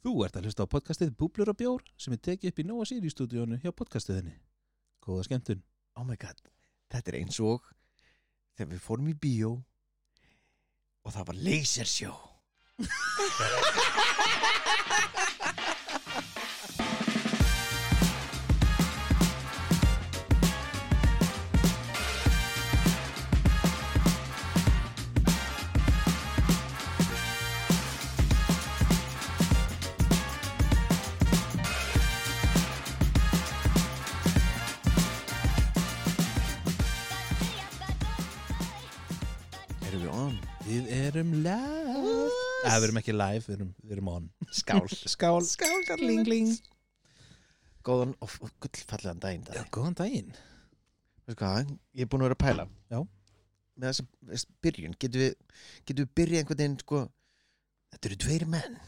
Þú ert að hlusta á podcastið Búblur og Bjór sem er tekið upp í Nóa Siri stúdíónu hjá podcastiðinni. Góða skemmtun. oh my god, þetta er eins og þegar við fórum í bíó og það var lasersjó erum við on Við erum live. Nei, Ah, við erum ekki live, við erum, við erum on. skál, Skál. skál, Gling, gling. góðan og, og gullfallegan daginn Já, dag. góðan daginn. Veistu hvað, ég er búin að vera að pæla Já. með þessa þessa byrjun, getum við getum við byrjað einhvern veginn sko, þetta eru tveir menn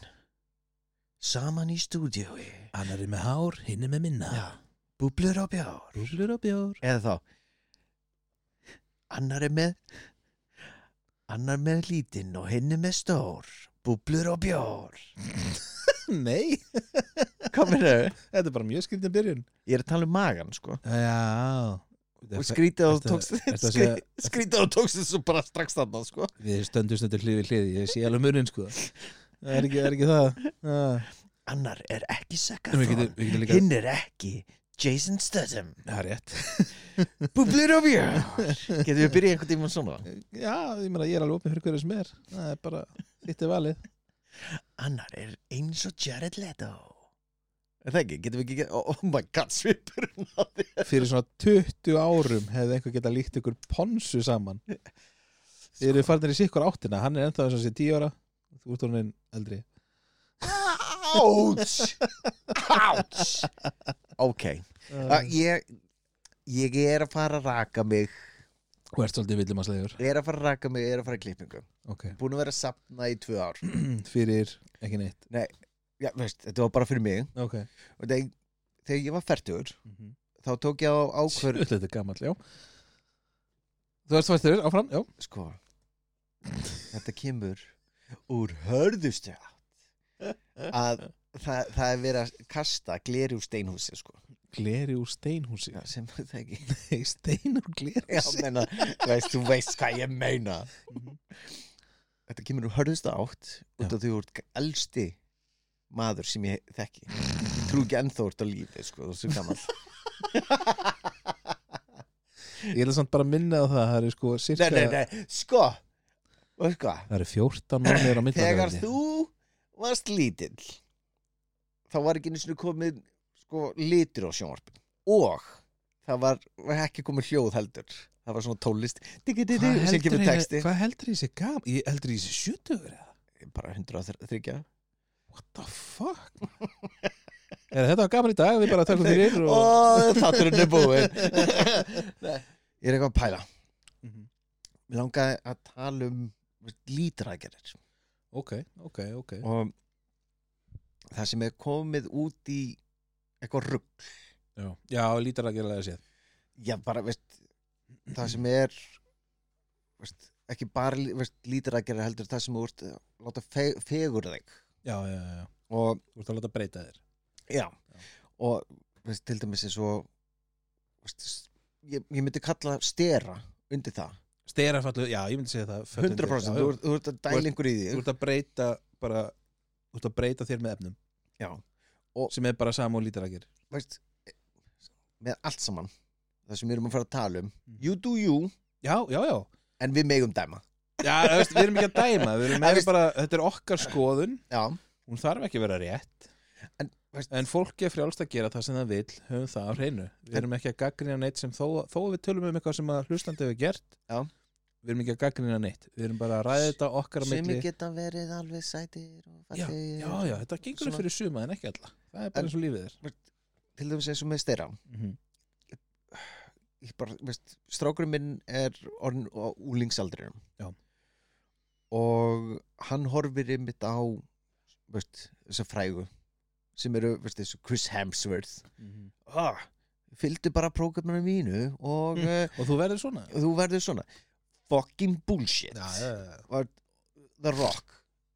saman í stúdíói Annar er með hár, hinn er með minna. já, búblur á bjár Búblur og Bjór. eða þá annar er með annar með lítinn og hinn er með stór búblur og bjór Nei, hvað er þau? þetta er bara mjög skrítið byrjun. ég er að tala um magan sko Já. og skrítið og ertu- tókst ertu að segja- skrí- skrítið og tókst þessu bara strax þarna sko Við stöndum stundur hlið við hlið, ég sé alveg munin sko. Það er ekki, það er ekki það. Ah. annar er En Við ekki getum, Sakathon við getum líka... hinn er ekki Jason Statham Það er rétt. búblur og bjór getum við byrjað einhvern tíma svona Já, ég meina, ég er alveg opið fyrir hverju sem er. Það er bara, þitt er valið. annar er eins og Jared Leto er það ekki, getum við ekki oh, oh my god, svipurinn á því fyrir svona 20 árum hefði einhver geta líkt ykkur ponsu saman Sko. Þið eru farinir í sikkur áttina hann er ennþá eins og sé 10 ára þú ert honin eldri Ouch Ouch Ok uh, ég, ég er að fara að raka mig Þú ert svolítið villumanslegur Er að fara að raka mig, er að fara að klippingu okay. Búin að vera að sapna í tvö ár fyrir ekki neitt Nei, já, veist, þetta var bara fyrir mig okay. Og þegar, þegar ég var færtur mm -hmm. Þá tók ég á ákvör Þetta er gammal, já Þú ert svartur, áfram, já Sko Þetta kemur úr hörðustu átt Að það, það er verið að kasta gleri úr steinhúsi sko, Gleri úr steinhúsi Já, sem það ekki Nei, stein úr Já, glerhúsi menna, veist, þú veist hvað ég meina Mhm. Þetta kemur úr hörðustu átt út af því þú ert elsti maður sem ég þekki Ég trú ekki ennþá ert á lífi, sko, þessu gammal Ég ætla samt bara að minna á það Það eru sko Nei, cirka nei, nei, sko Veist hvað, Það eru 14 mánuður á milli þegar okkar, held ég. þú varst lítill þá var ekki einu sinni komið sko, litur á sjónvarpin og það var, var ekki komið hljóð heldur það var svona tólist Hvað sem heldur kemur ég- texti Hvað heldur ég sé gam? Ég heldur ég sé 70 eða? bara 130 What the fuck? er, þetta var gaman í dag, við bara takkum fyrir og... og þátturinn er búinn Nei, ég er eitthvað að pæla Mhm. mér langaði að tala um lítraðgerðir Ok, ok, ok og það sem er komið út í eitthvað rugg Já, já lítar að gera það séð já bara veist það sem er veist, ekki bara lítraðgerðir heldur það sem þú ert að láta fe fegur þig Já, já, já, já. og þú ert að láta breyta þér Já, og veist, til dæmis er svo veist, s- ég, ég myndi kalla stera undir það Sterafallu, já, ég myndi segja það föll undir- 100% já, þú, já. ert- þú ert að Þú ert- dæla einhver í Þú þig ert að breyta bara Þú ert að breyta þér með efnum Já. Sem er bara sama og lítar að gera veist, með allt saman það sem við erum að fara að tala um Mhm. you do you, Já, já, já en við megum dæma Já, þú veist, við erum ekki að dæma Við erum Já, meira veist- bara, þetta er okkar skoðun Já, Hún þarf ekki að vera rétt En, veist- en fólk er frjálst að gera það sem það vill höfum það á hreinu við En- erum ekki að gaggrinja neitt sem þó, þó að við tölum um eitthvað sem að hlustandi hefur gert Já. við erum ekki að gaggrinja neitt við erum bara að ræða þetta okkar á sem milli já, geta verið alveg sætir og já, fallegir. já, þetta gengur Svona- upp fyrir suma en ekki alla það er bara En- Mhm. eins og lífið er Til dæmis eins og með stera ég bara, veist, strákurinn minn er orðin á úlingsaldrinum Já. og hann horfir einmitt á veist, þessa frægu sem eru, veist, þessu Chris Hemsworth Mhm. ah, fylgdu bara prógraminu mínu og Mm. mm. og þú verður svona þú verður svona fucking bullshit já, já, já. Var, The Rock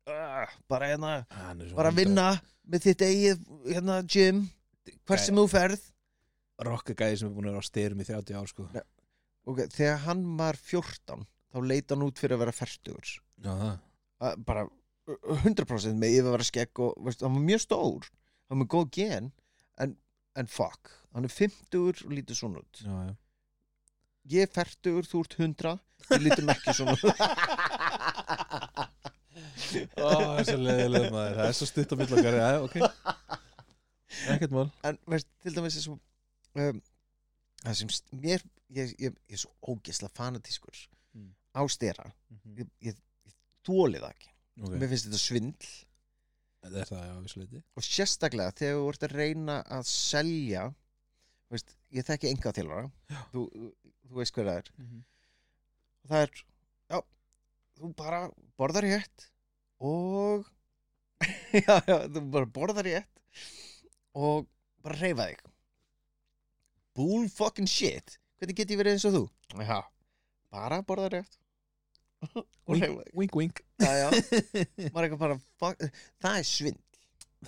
ah, bara hérna Hann er svo bara að vinna með þitt eigið hérna gym Gæ- hvert sem þú ferð Rokkagæði sem er búin að vera á styrum í 30 ár sko Já. og þegar hann var 14 þá leita hann út fyrir að vera fertugur Já, það bara uh, 100% með yfirvara skegg og veist, hann var mjög stór hann var með góð gen en, en fuck, hann er 50 og lítur svona út Já, já ég er fertugur, þú ert 100 við lítum ekki svona út Ó, það er svo leiðileg maður Það er svo stutt á mill okkar Já, já, ok Ekkert mál en veist, til dæmis þessu um, það sem st- mér ég, ég, ég er svo ógeðslega fanatískur Mm. á stera ég, ég, ég þóli það ekki Ok, Mhm. mér finnst þetta svindl það er það, já, við sleiti og sérstaklega þegar þú ert að reyna að selja þú veist, ég þekki enga þjálfara þú, þú veist hver það er og það er, já, þú bara borðar rétt og já, já, þú bara borðar rétt og bara reyfa þig bull fucking shit hvernig get ég verið eins og þú? já, bara borðar rétt og reyfa þig Wink, wink já, já, maður er eitthvað bara fuck, það er svind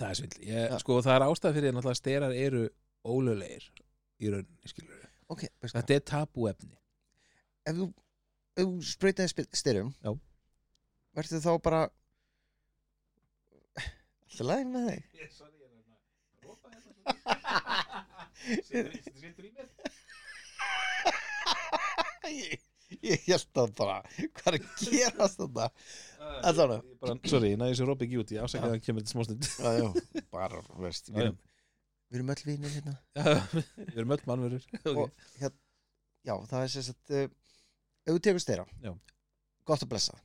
Það er svindl ég, Já. Sko, það er ástæð fyrir náttúrulega að sterar eru ólöglegir í rauninni, skilur við ok, veistu hvað? Þetta er tabuefni ef þú, ef þú spreytaði styrum Já. verður þá bara alltaf læg með þig hérna ég, ég held það bara hvað er að gerast þetta Allavega. Bara- Sorry, ég næði þessu Robby Gjúti Ásækja að hann kemur til smástund já, já, bara, veist Já, við erum, við erum öll vinir hérna Við erum öll mannverur Og hér, já, það er sérst að uh, ef þú tekur styra Já. gott að blessa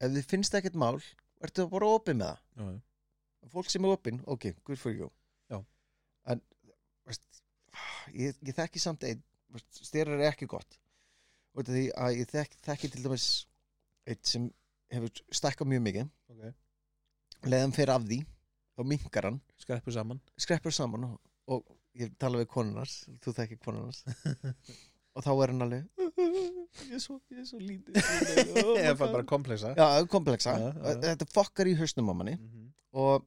ef þið finnst ekkert mál, ertu bara opið með það Mhm. Já, já. fólk sem er opið, ok, good for you Já. en veist, ég, ég þekki samt einn veist, styrar er ekki gott út af því að ég þek, þekki til dæmis einn sem hefur stækkað mjög mikið Ok. leðan fer af því, þá minkar hann Skreppu saman skreppur saman og, og ég tala við konunars þú þekkir konunars og þá er hann alveg ég er svo, ég er svo lítið Ég fæ bara komplexa já, komplexa, Já, já. þetta fokkar í hausnum á manni Mhm. og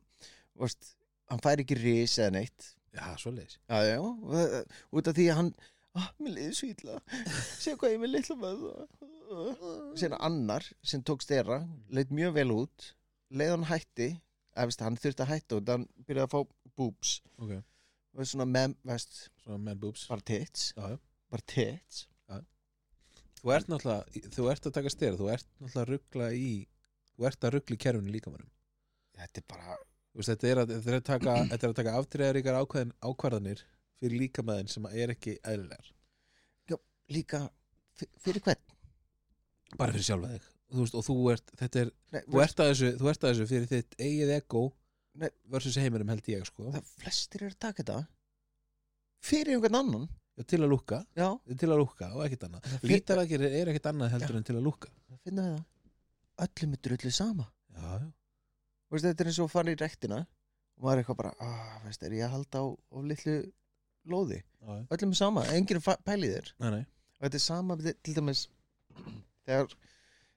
veist, hann fær ekki ris eða neitt Já, svo leiðis já, já, og, eh, út af því að hann ah, mér liði svo illa sé hvað ég er með litla með síðan annar sem tók stera leit mjög vel út leið hann hætti eða, veist, hann þurfti að hætta út hann byrjaði að fá boobs Ok, og svona mem, veist, svona man boobs bara tits Já, já. bara tits Þú ert náttúrulega, þú ert að taka stera Þú ert náttúrulega að ruggla í Þú ert að ruggla í kerfinu líka mannum þetta er bara Veist, þetta, er að, þetta, er að taka, þetta er að taka aftriðaríkar ákvæðin, ákvarðanir fyrir líkamæðin sem er ekki eðlilegar líka f- fyrir hvern bara fyrir sjálfa þig Þú veist, og þú ert, þetta er, Nei, þú ert, að þessu, þú ert að þessu fyrir þitt eigið ego Nei. versus heiminum held ég sko það flestir eru að taka þetta fyrir einhvern annan til að lúkka, já, til að lúkka og ekkert annað fyrir- lítaraðgerðir er ekkert annað heldur en til að lúkka það finna við það öllum er drullu sama já, já, Þú veist, þetta er eins og að fara í rektina og maður er eitthvað bara, ah, veist, er ég að halda á of litlu lóði já, já. öllum er sama, enginn er fa- pæli þér Nei, nei. og þetta er sama við- til dæmis þegar,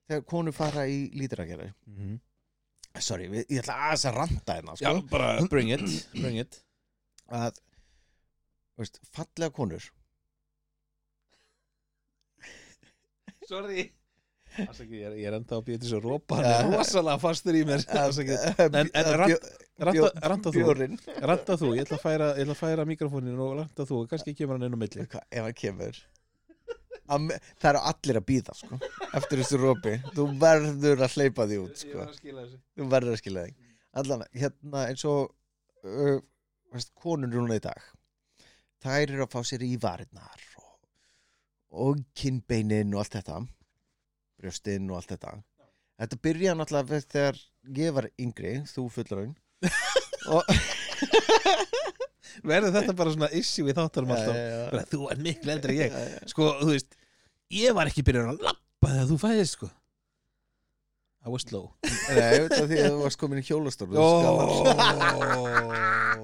þegar konur fara í lítragerði Mhm. sorry, við, ég ætla aðeins að ranta hérna já, sko, bara bring it, bring it. að þú veist, fallega konur sorry Afsakið, ég, er, ég er enda að býja til þessu rópa Já. hann er rosalega fastur í mér Afsakið. en bjó- ranta ranta þú bjórin Ranta þú, ég ætla að færa, ég ætla að færa mikrofónin og ranta þú, kannski kemur hann inn á milli Hvað, ef hann kemur Að me- það eru allir að býða sko, eftir þessu rópi þú verður að hleypa því út sko. að skila þessu þú verður að skilja þig allan, hérna eins og uh, veist, konur núna í dag þær eru að fá sér í varirnar og, og kinnbeinin og allt þetta brjóstinn og allt þetta þetta byrja náttúrulega við þegar ég var yngri, þú fullraun og Verður þetta bara svona issue í þáttunum alltaf Eh, Bara, Þú er miklu eldri en ég Sko, þú veist, ég var ekki byrjun að lappa þegar þú fæðist, sko I was slow Nei, út af því að þú varst komin í hjólastól þú oh. skallar.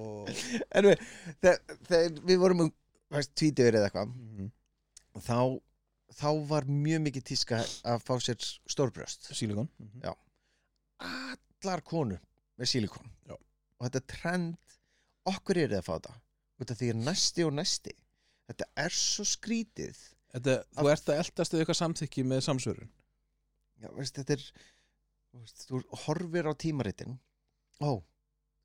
En við, þegar, þegar við vorum um, veist, tvítur eða eitthvað Mhm. og þá þá Mhm. var mjög mikið tíska að fá sér stórbröst Sílikon Já. allar konur með sílikon Já. og þetta trend okkur er að fá þetta út af því að næsti og næsti þetta er svo skrítið Þetta, þú ert að eldast eða eitthvað samþykki með samsvörun Já, veist, þetta er þú veist, þú horfir á tímaritin ó,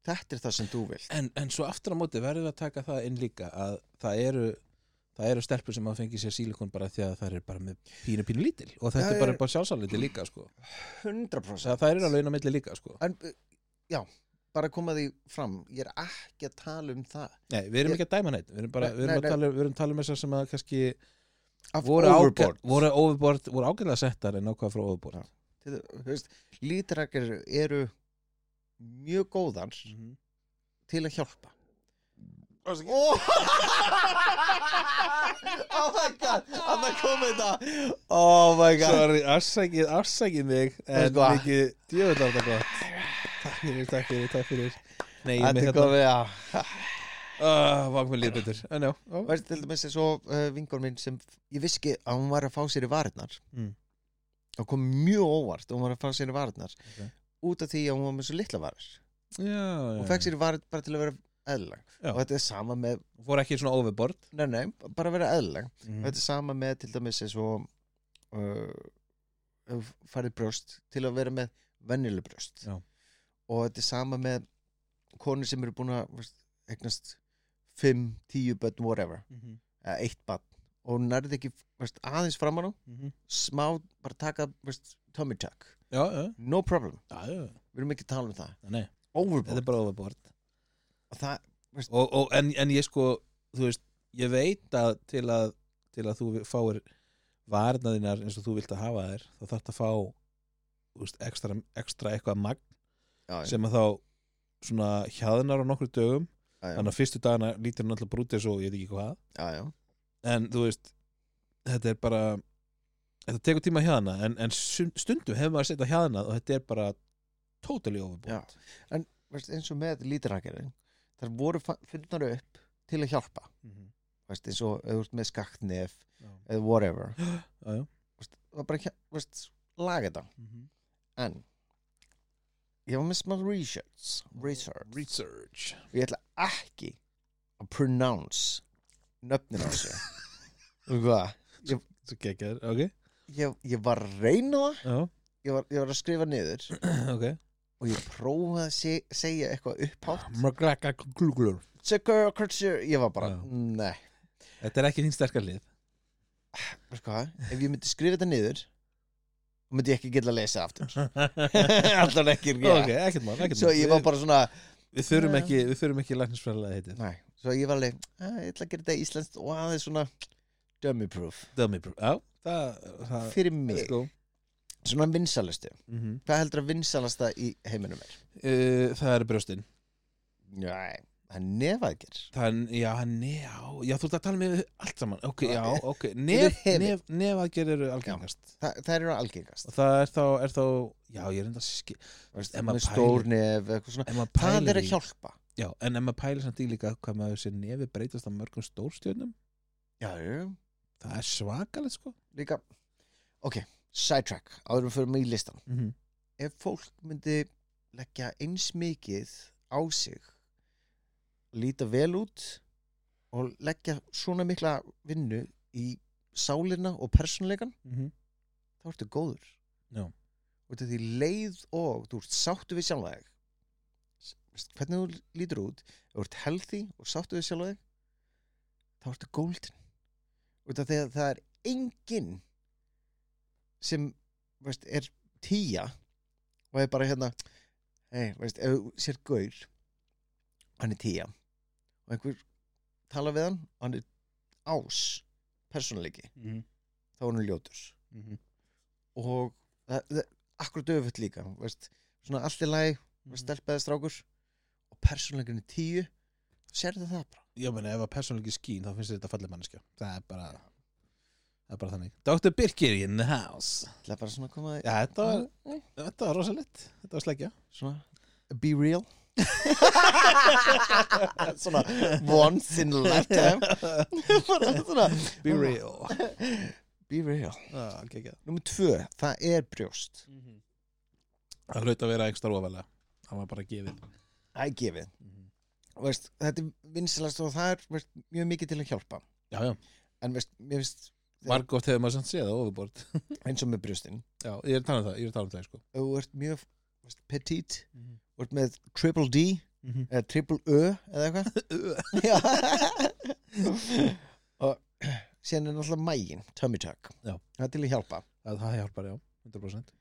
þetta er það sem þú vilt en, en svo aftur á móti verður við að taka það inn líka að það eru það eru stelpur sem að fengi sér sílikon bara því að það er bara með pínu pínu lítil og þetta Já, er bara, já. bara sjálfsáliti líka sko. 100% það, það er alveg inn á milli líka sko. en, uh, já, bara koma því fram ég er ekki að tala um það nei, við erum ekki að dæma neitt við erum, bara, Nei, við erum, nei, að, nei. tala, við erum að tala um þessar sem að kannski Af voru, ágæ, overboard. voru, overboard, voru ágæðlega settar en ákvað frá overboard Já. Þetta- þú veist, lítrakar eru mjög góðar Mhm. til að hjálpa oh! oh my god að kom þetta oh my god Sorry, afsækið, afsækið mig Veistu en hvað? mikið djöfull á þetta gott Takk fyrir, takk fyrir, takk fyrir Nei, ég með hérna. þetta er þetta komið að Ah, Vák með líður betur En já, já. Þú veist, til dæmis eins og uh, vingur minn sem ég vissi ekki að hún var að fá sér í varirnar Mm. það kom mjög óvart að hún var að fá sér í varirnar Ok. út af því að hún var með svo litla varir já hún já. fekk sér í varir bara til að vera eðlang Já. og þetta er sama með Fór ekki svona overboard Nei, nei, bara vera eðlang Mm. Mhm. Þetta er sama með til dæmis eins og uh, farið brjóst til að vera með venjuleg brjóst Já. og þetta er sama með konur sem eru búin að veist, eignast 5, 10 börn, whatever Mhm, eða eitt barn og hún nærði ekki veist, aðeins framan á mhm. smá, bara taka veist, tummy tuck, Já, já, no problem já, já við erum ekki að tala um það, Nei, þetta overboard er bara overboard og það, og, og, en, en ég sko, þú veist Ég veit að til að, til að þú fáir varnaðinar eins og þú vilt að hafa þær þá þarf þetta að fá þú veist, ekstra, ekstra eitthvað magn já, já, sem að þá svona hjaðnar á nokkru dögum já, já, þannig að fyrstu dagana lítur hann alltaf brútið svo ég veit ekki hvað já, já. en þú veist, þetta er bara þetta tekur tíma hjaðna en, en sum- stundum hefur maður setja hjaðna og þetta er bara totally Já. overbútt Veist, eins og með lítirakirinn þar voru fa- fundnar upp til að hjálpa veist, eins og eða þú ert með skaktnef Já. eða whatever Já, já. veist, það bara, hjá- veist, laga þetta en ég var með smá research research, Research og ég ætla ekki að pronounce nöfnin á þessu og hvað Svo gekkjaður, ok ég, ég var að reyna það Já, ég var, ég var að skrifa niður ok og ég prófaði að se, segja eitthvað Ah, upphátt Magrækka klúklur Sugar, culture, ég var bara, Já. nei Þetta er ekki þín sterkar lið Veistu hvað, ef ég myndi skrifa þetta niður þá myndi ég ekki geta að lesa aftur alltaf ekki Ok, ekkert maður, ekkert svo ég var bara svona Við þurfum ekki, við þurfum ekki læknisfræðilega heitið nei, svo ég var alveg, "Ah, ég ætla að gera þetta íslenskt og aðeins svona dummy proof Dummy proof Já, það, það fyrir mig, sko. svona vinsalastu mm hvað heldur að vinsalasta í heiminum er? Eh, Það eru brjóstin nei, það er nefaðger Þann, já, njá, já, þú ert að tala með allt saman Ok, já, ok Þetta Nef, er hefir. nef, nef aðgerð eru algengast Þa, það eru algengast Og það er þá, er þá Já, ég er enda að skil Vist, ef með maður stór nef eitthvað svona. En maður það pælir er í að hjálpa Já, en ef maður pælir samt í líka Hvað maður sér nefi breytast á mörgum stórstjörnum já, já, Það er svakalegt, sko líka ok, sidetrack, áðurum fyrir mig í listan mm -hmm. ef fólk myndi leggja eins mikið á sig líta vel út og leggja svona mikla vinnu í sálina og persónleikan Mhm. þá ertu góður Já. og þetta er leið og þú ert sáttu við sjálfa þig S- veist, hvernig þú lítur út ef þú ert healthy og sáttu við sjálfa þig þá ertu golden og þetta þegar það er enginn sem veist, er tíja og er bara hérna hey, veist, ef þú sér gaur hann er tíja og einhver tala við hann og hann er ás persónuleiki, Mhm. þá er hann ljótur og það, það, akkurat öfutt líka veist, svona allt í lagi mm. stelpaði strákur og persónleikunni tíu sérðu það bara Já, meni, ef að persónleiki skín Þá finnst þér þetta fallið manneskja Það er bara Það er bara þannig Dr. Birkir in the house Það er bara svona að koma Já, þetta var, þetta var rosalegt Þetta var sleggja svona be real svona once in a lifetime bara svona Be real be real ah, okay, okay. nummer tvö, það er brjóst það hlaut að vera einhversta rofalega það var bara gefið Það er gefið Og veist, Þetta er vinsalast og það er veist, mjög mikið til að hjálpa já, já, En veist, mér finnst margótt hefur maður samt séð á ofubort eins og með brjóstin já, ég er að tala um það, ég er að tala um það sko. Þú ert mjög veist, petit Mhm. Þú ert með triple D eða triple Ö eða eitthvað Já. og síðan er náttúrulega mægin, tummy tuck Já. það er til að hjálpa það, það hjálpar, já, 100%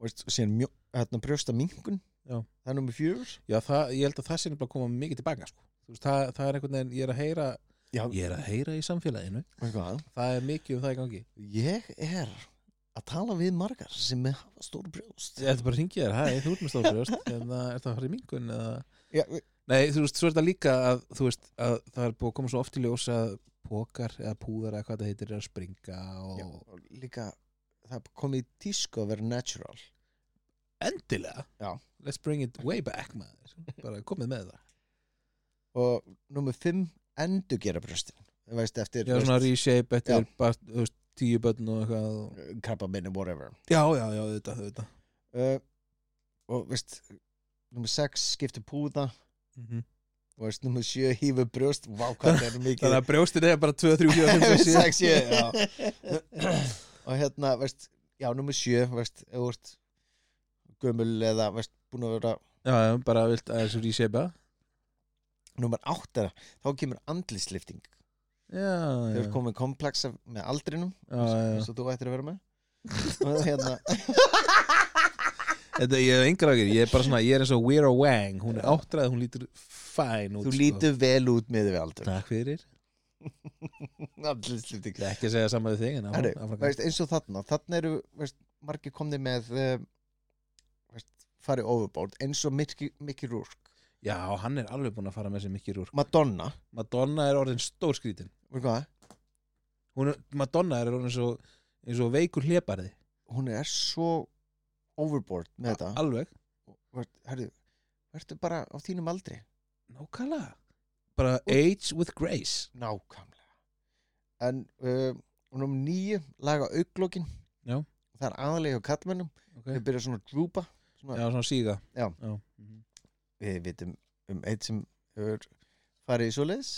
og veist, og síðan mjó, hérna, brjósta minkun Já. það er nummer fjögur já, það, ég held að það sé nefnilega að koma mikið tilbaka sko. Þú veist, það, það er einhvern veginn, ég er að heyra Já. ég er að heyra í samfélaginu Hvað? það er mikið um það í gangi ég er að tala við margar sem hafa stór brjóst ég ætti bara að ringja þér, hæ, þú ert með stofbrjóst en það er það að fara í mingun eða... Já, við- nei, þú veist, svo er þetta líka að, þú veist, að það er búið að koma svo oft í ljós að pókar eða púðar eða hvað það heitir er að springa og já, og líka það er komið í tísku að vera natural endilega Já. let's bring it way back maður. bara komið með það og nummer fimm endurgera brjóstin Þú veist, eftir já, svona reshape eftir bara, þú veist, tíu börn og eitthvað og... krabba minni, whatever já, já, já, þetta, þetta uh, og veist nummer sex skipta púða Mhm. og veist, nummer sjö hýfur brjóst vá hvað það er mikið þannig að brjóstin er bara 2, 3, 4, 5, 6 sex, sjö já. og hérna, veist já, nummer sjö, veist, ef þú ert gömul eða, veist, búin að vera já, já, bara vilt að þessu reshapea nummer átta, þá kemur andlislifting já, þau já, eru komin komplexa með aldrinum já, já. svo þú ættir að vera með og hérna, Þetta, ég hef engar ágjur, ég er bara svona, ég er eins og Weira Wang, hún er áttræð, hún lítur fæn út þú sko. lítur vel út með við aldur Takk fyrir, andlislifting ég er ekki að segja sama við þig en áfram- Herru, áfram- veist, eins og þarna, þarna eru veist, margir komni með eh, veist, farið overboard eins og Mickey, Mickey Rourke Já, hann er alveg búin að fara með sér mikið rúr Madonna, Madonna er orðin stór skrítin veistu hvað? hún er, Madonna er orðin eins og, eins og veikur hlébarði hún er svo overboard með þetta Alveg, Vert, herru, verður bara á þínum aldri nákvæmlega Bara age with grace nákvæmlega en uh, hún um nýju laga auglókin Já. það er aðalega á kallmennum okay. þau byrja svona að drúpa Já, svona síga Já. Já. við vitum um eitt sem hefur farið í svoleiðis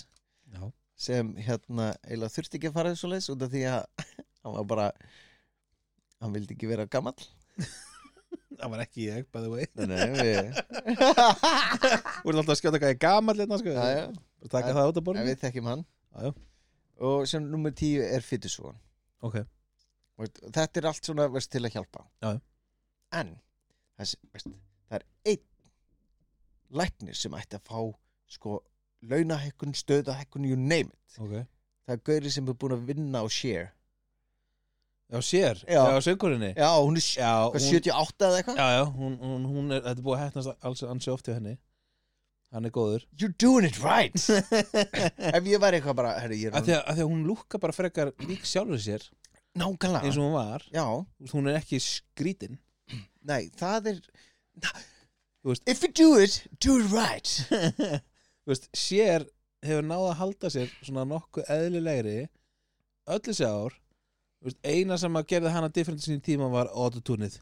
Já. sem hérna eiginlega þurfti ekki að fara í svoleiðis út af því að hann var bara hann vildi ekki vera gammal Það var ekki ég, by the way þannig við, Þú erum alltaf að skjóta hvað ég er gamall hérna, sko já, já, Bara Taka það út af en borðinu við þekkjum hann Já, já. og sem nummer tíu er fytusvon Ok, Veist, þetta er allt svona veist, til að hjálpa Já, já. en þessi, veist, það er einn læknir sem ætti að fá sko, launahekkun, stöðahekkun you name it, ok það er gauri sem er búin að vinna á share Já, sér, Já. já söngkurinni já, hún er já, Já, hún... hún- 78 eða eitthvað Já, já, hún, hún, hún er, þetta er búið að hættast alls ansi oft hjá henni Hann er góður you're doing it right ef ég væri eitthvað bara, herri, ég er Af því að, að því að hún lúkka bara frekar lík sjálfur sér nákvæmlega eins og hún var já, Þú veist, Hún er ekki skrítin nei, það er Þú veist- if you do it, do it right Þú veist, Sér hefur náð að halda sér svona nokkuð eðlilegri öll þessi ár Þú veist, Eina sem að gerði hana different sinni tíma var autotunið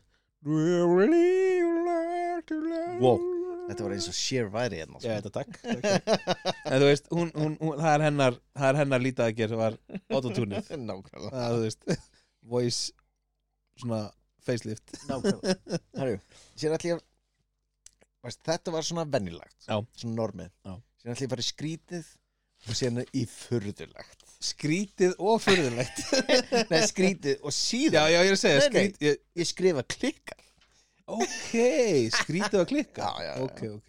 Wow, þetta var eins og share væri hérna Já, þetta takk, takk, takk. En þú veist, hún, hún, hún, það er hennar það er hennar lítið að gera var autotunið nákvæmlega það, þú veist, voice svona facelift Nákvæmlega Herru, Sér ætli ég veist, Þetta var svona venjulegt Já. Svona normið Já. Sér ætli ég bara í skrítið Og síðan í furðulegt skrítið og furðulegt Nei, skrítið og já, síðan já, ég er að segja, Nei, nei. skrít ég, Ég skrifa klikka ok, skrítið að klikka Já, já, já. ok, ok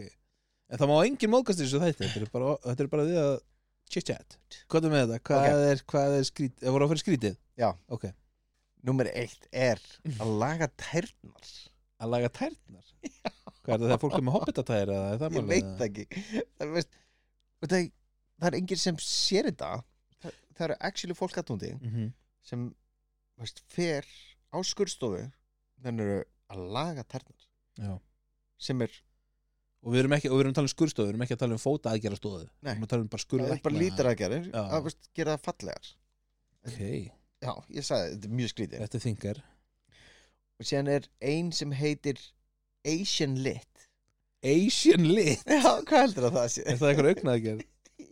en það má engin móðkast í þessu þætti þetta er bara, þetta er bara því að chit-chat hvað er með þetta, hvað er, hvað er skrítið það voru að fyrir skrítið Já. ok, Númer eitt er að laga tærnar að laga tærnar hvað er það, þegar fólk er með hoppitatæri eða er það Ég málið, veit eða? það ekki Það, veist, og það, það er enginn sem sér þetta Það, það eru actually fólk aðtúndi Mhm. Sem veist, fer á skurstofu Þannig eru að laga tærnar Já. Sem er og við erum ekki, og við erum að tala um skurstofu við erum ekki að tala um fóta aðgera stóðu við Nei. erum að tala um bara Það skurðlækna er bara lítaraðgerðir Já. að veist, gera það fallegar ok, Já, ég sagði, þetta er mjög skrítið þetta er þingar Og síðan er ein sem heitir Asian lit Asian lit Já, hvað heldur að það sé? Er það eitthvað augnaðgerð?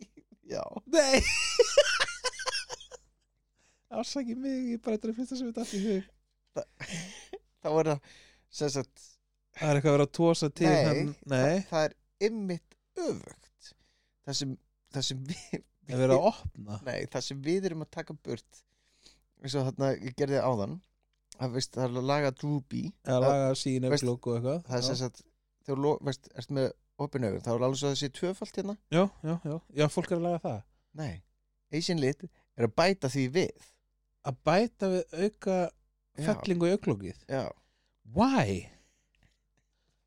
Já, Nei Ásaki mig, ég er bara eitthvað að fyrsta sem þetta allt í hug það voru sem sagt, Það er eitthvað að vera að tósa til Nei. hann það, Nei, það er ymmit öfugt það sem, það sem við að vera að opna Nei, það sem við erum að taka burt eins og þarna, ég gerði áðan það, veist, það er að laga droopy Eða Það- laga sín veist- auglokk og eitthvað það er sem já. sagt, þegar þú veist, ert með opin augun, þá er alveg svo að það sé tvöfalt hérna já, já, já, já, fólk er að laga það Nei, Asian lit er að bæta því við Að bæta við auka Já, fellingu í auglokkið já, Why?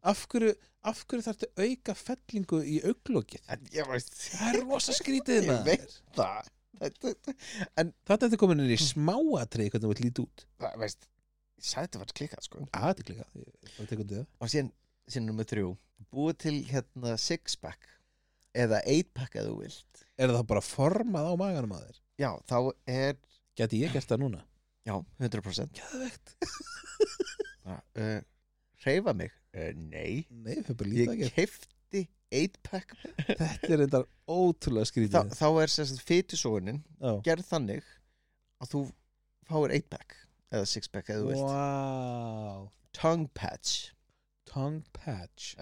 Af hverju, af hverju þarftu auka fellingu í auglokkið? en ég veist Það er rosa skrítið Ég maður það, þetta, Þetta er komin inn í smáatrið hvernig þú ert lítið út það, veist ég sagði þetta var klikkað, sko Að þetta er klikað, ég var tekundið það og síðan, síðan nummer þrjú búið til hérna six pack eða eight pack eða þú vilt Er það bara formað á maganum að þér? já, þá er, Gæti ég gert það núna? já, 100% Gæðvegt uh, reyfa mig uh, nei, Nei, það er bara lítið að ég gera kefti eight pack Þetta er reyndar ótrúlega Þa, skrítið þá er sérst fytisóunin Já. gerð þannig að þú fáir eight pack eða six pack eða þú vilt Wow tongue patch, Tongue patch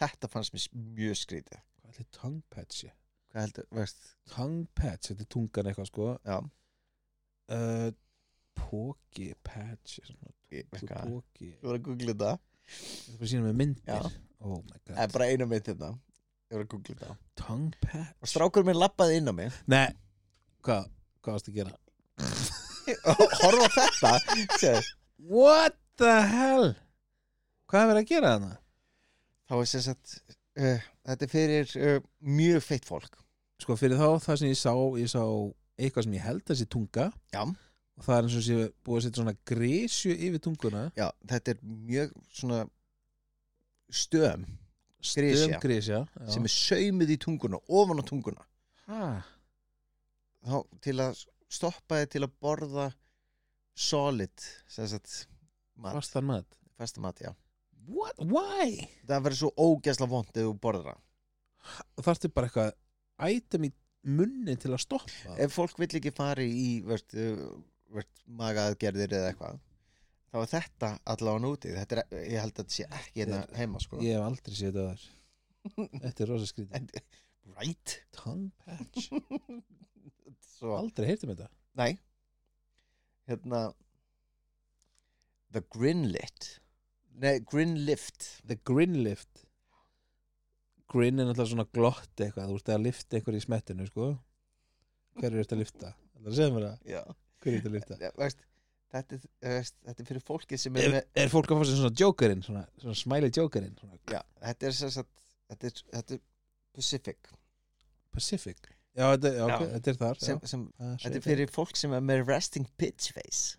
þetta fannst mér s- mjög skrítið Hvað er þetta tongue patch? ég? hvað heldur, veist, Tongue patch, þetta er tungan eitthvað sko já uh, Póki patch svona ég- tungu- eitthvað. Póki ég var að googla þetta, Þetta er bara sína með myndir Já. Oh my god það er bara eina mynd þetta hérna. ég var að googla þetta Tongue patch og strákur minn lappaði inn á mig Nei, hvað, hvað varstu að gera? horfa á þetta sér. What the hell? Hvað er verið að gera þarna? þá er sem sagt uh, þetta er fyrir uh, mjög feitt fólk Sko fyrir þá það sem ég sá Ég sá eitthvað sem ég held að sé tunga já, og það er eins og sé búið að setja svona grísju yfir tunguna já, þetta er mjög svona stöðum Grisja. stöðum grísja sem er saumuð í tunguna, ofan á tunguna þá, til að stoppa þið til að borða solid sem sagt mat, Fast. fastan mat fasta mat, já What? Why? það verður svo ógæsla vond ef þú borðar það Og þarftu bara eitthvað item í munni til að stoppa ef fólk vill ekki fari í vart, vart, magaðgerðir eða eitthvað þá er þetta allavega úti þetta er, ég held að þetta sé ekki hérna Þetta heima sko. Ég hef aldrei séð þetta þar Þetta er rosa skrítið En- right Tongue patch Svo, Aldrei heyrtum þetta nei hérna the grinlit nei, grinlift The grin lift Grin er náttúrulega svona glott eitthvað Þú ert að lifta einhverju í smettinu sko Hver er þetta að lifta? Það er að segja mér það já, Hver er þetta að lifta? ja, veist, þetta, er, veist, þetta er fyrir fólki sem er Er, með er fólk að fá sér svona jokerinn Svona, svona smiley jokerinn svona já, þetta er sem sagt þetta er, þetta er Pacific Pacific Já, þetta, já, ok, Já. þetta er þar já. Ah, sem, sem, Það er þetta er sveitin. fyrir fólk sem er með resting pitch face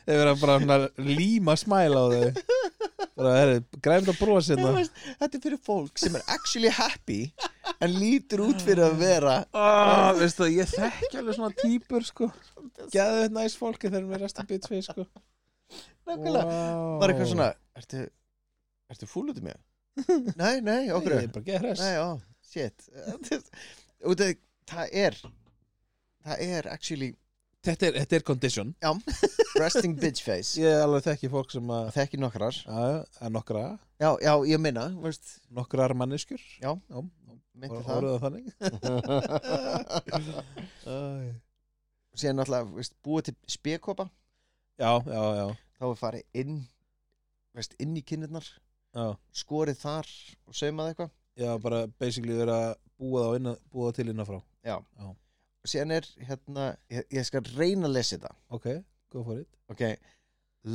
Þeir vera bara svona líma smæl á þau Bara, herri, græmt að bróa Þú sérna veist, þetta er fyrir fólk sem er actually happy en lítur út fyrir að vera Ah, veistu það, ég þekki alveg svona típur sko Gæðu þetta næs fólki þegar við restum bit við sko nákvæmlega Wow. var eitthvað svona ertu, ertu fúl út í mig? nei, nei, okkur Nei, ég er bara geð hress nei, ó, shit út af það er það er actually þetta, er- þetta er condition resting bitch face Ég alveg þekki fólk sem að þekki nokkrar að að nokkra, já, já, ég minna veist, nokkrar manneskjur Já. já myndi það orðuð það þannig Æ. síðan náttúrulega veist, búið til spekopa Já, já, já, þá er farið inn veist, inn í kinnirnar já. skorið þar og saumað eitthvað Já, bara basically vera að búa þá inna, búa þá til innanfrá og síðan er hérna ég, ég skal reyna að lesa þetta Ok, go for it ok,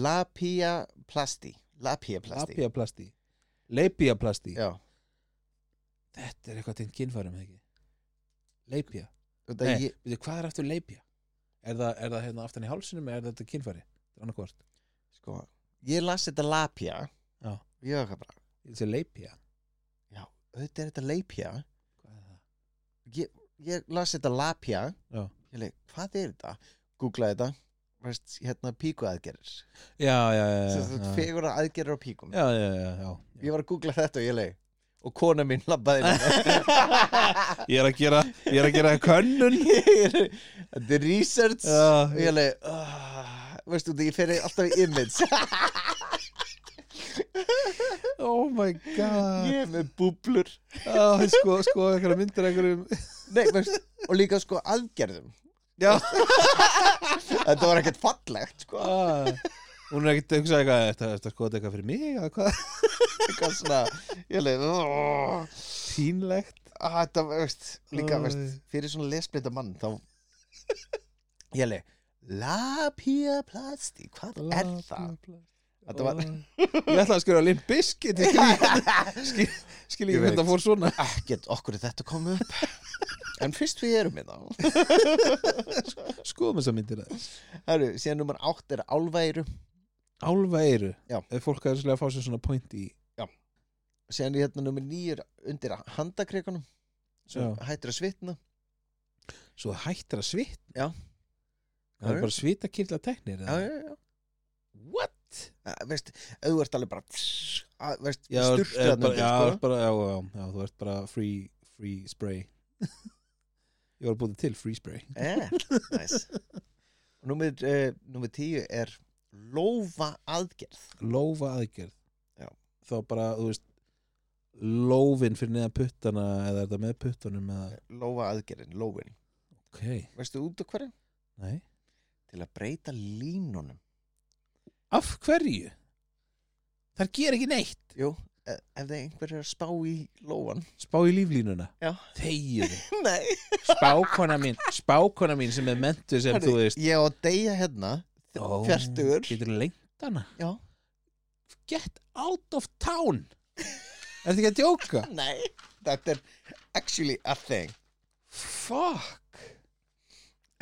lapiaplasti lapiaplasti Lapiaplasti Leipiaplasti já, Þetta er eitthvað tengt kynfærum, eða ekki? Leipia og það Nei, ég, veitir, hvað er aftur leipia? Er það, er það hérna aftan í hálsinum eða er þetta kynfæri? Þetta er annarkvort sko ég las þetta lapia Já. og ég var eitthvað bara, Þetta er leipia auðvitað er þetta lapia Hvað er það? ég las þetta lapia Já. ég leik, hvað er þetta? googlaði þetta veist, hérna píku aðgerir já, já, já, já, já. fegura aðgerir á píkum já, já, já, já, já. ég var að googla þetta og ég leið og kona mín labbaði inn. Ég er að gera, ég er að gera könnun Ég er- þetta er research Já. og ég leið ah, veistu þú, ég fer alltaf í image Oh my god ég er með búblur Já, sko, sko, einhverja myndir einhverjum Nei, veist, og líka sko aðgerðum Já þetta var ekkert fallegt sko ah, Hún er ekkert að hugsa eitthvað Þetta er sko þetta eitthvað fyrir mig eða hvað eitthvað svona ég leið oh. Tínlegt að þetta, veist, líka, Æ. veist, fyrir svona lesblinda mann, þá ég leið, lapiaplasti, hvað er það? Þetta var Ég ætla að skjóra Limp Bizkit Ég skil- Skil Ég ekki hvernig veit. það fór svona ekkert okkur er þetta komið upp en fyrst við erum hérna, við þá Skoðum þess að myndir það Heru, síðan nummer átt er álværu Álfa eru Já. Ef fólk er svolítið að fá sér svona point í síðan er hérna nummer nýjur undir handakreikunum sem Já. hættir að svitna Svo það hættir að svit Já. Það er bara svita kyrla teknir já, já, já. What? Að, veist, ef þú ert alveg bara að, veist, Já, er, styrta bara, já, sko. er bara, já, já, já, þú ert bara free, free spray Ég var að búið til free spray yeah, Eh, nice. nummer, uh, nummer tíu er lófa aðgerð Lófa aðgerð Já. Þá bara, þú veist Lófin fyrir neðan puttana eða er þetta með puttunum eða lófa aðgerðin, lófin Ok, veistu út af hverju? nei til að breyta línunum Af hverju? Þar ger ekki neitt Jú, ef Eh, ef það einhver er að spá í lófan Spá í líflínuna Já. Þegið Nei Spákona mín Spákona mín sem er mentu sem þú veist Ég á að deyja hérna Ó, Fjartugur Getur lengt hana Já Get out of town Ertu ekki að djóka? Nei Þetta er actually a thing Fuck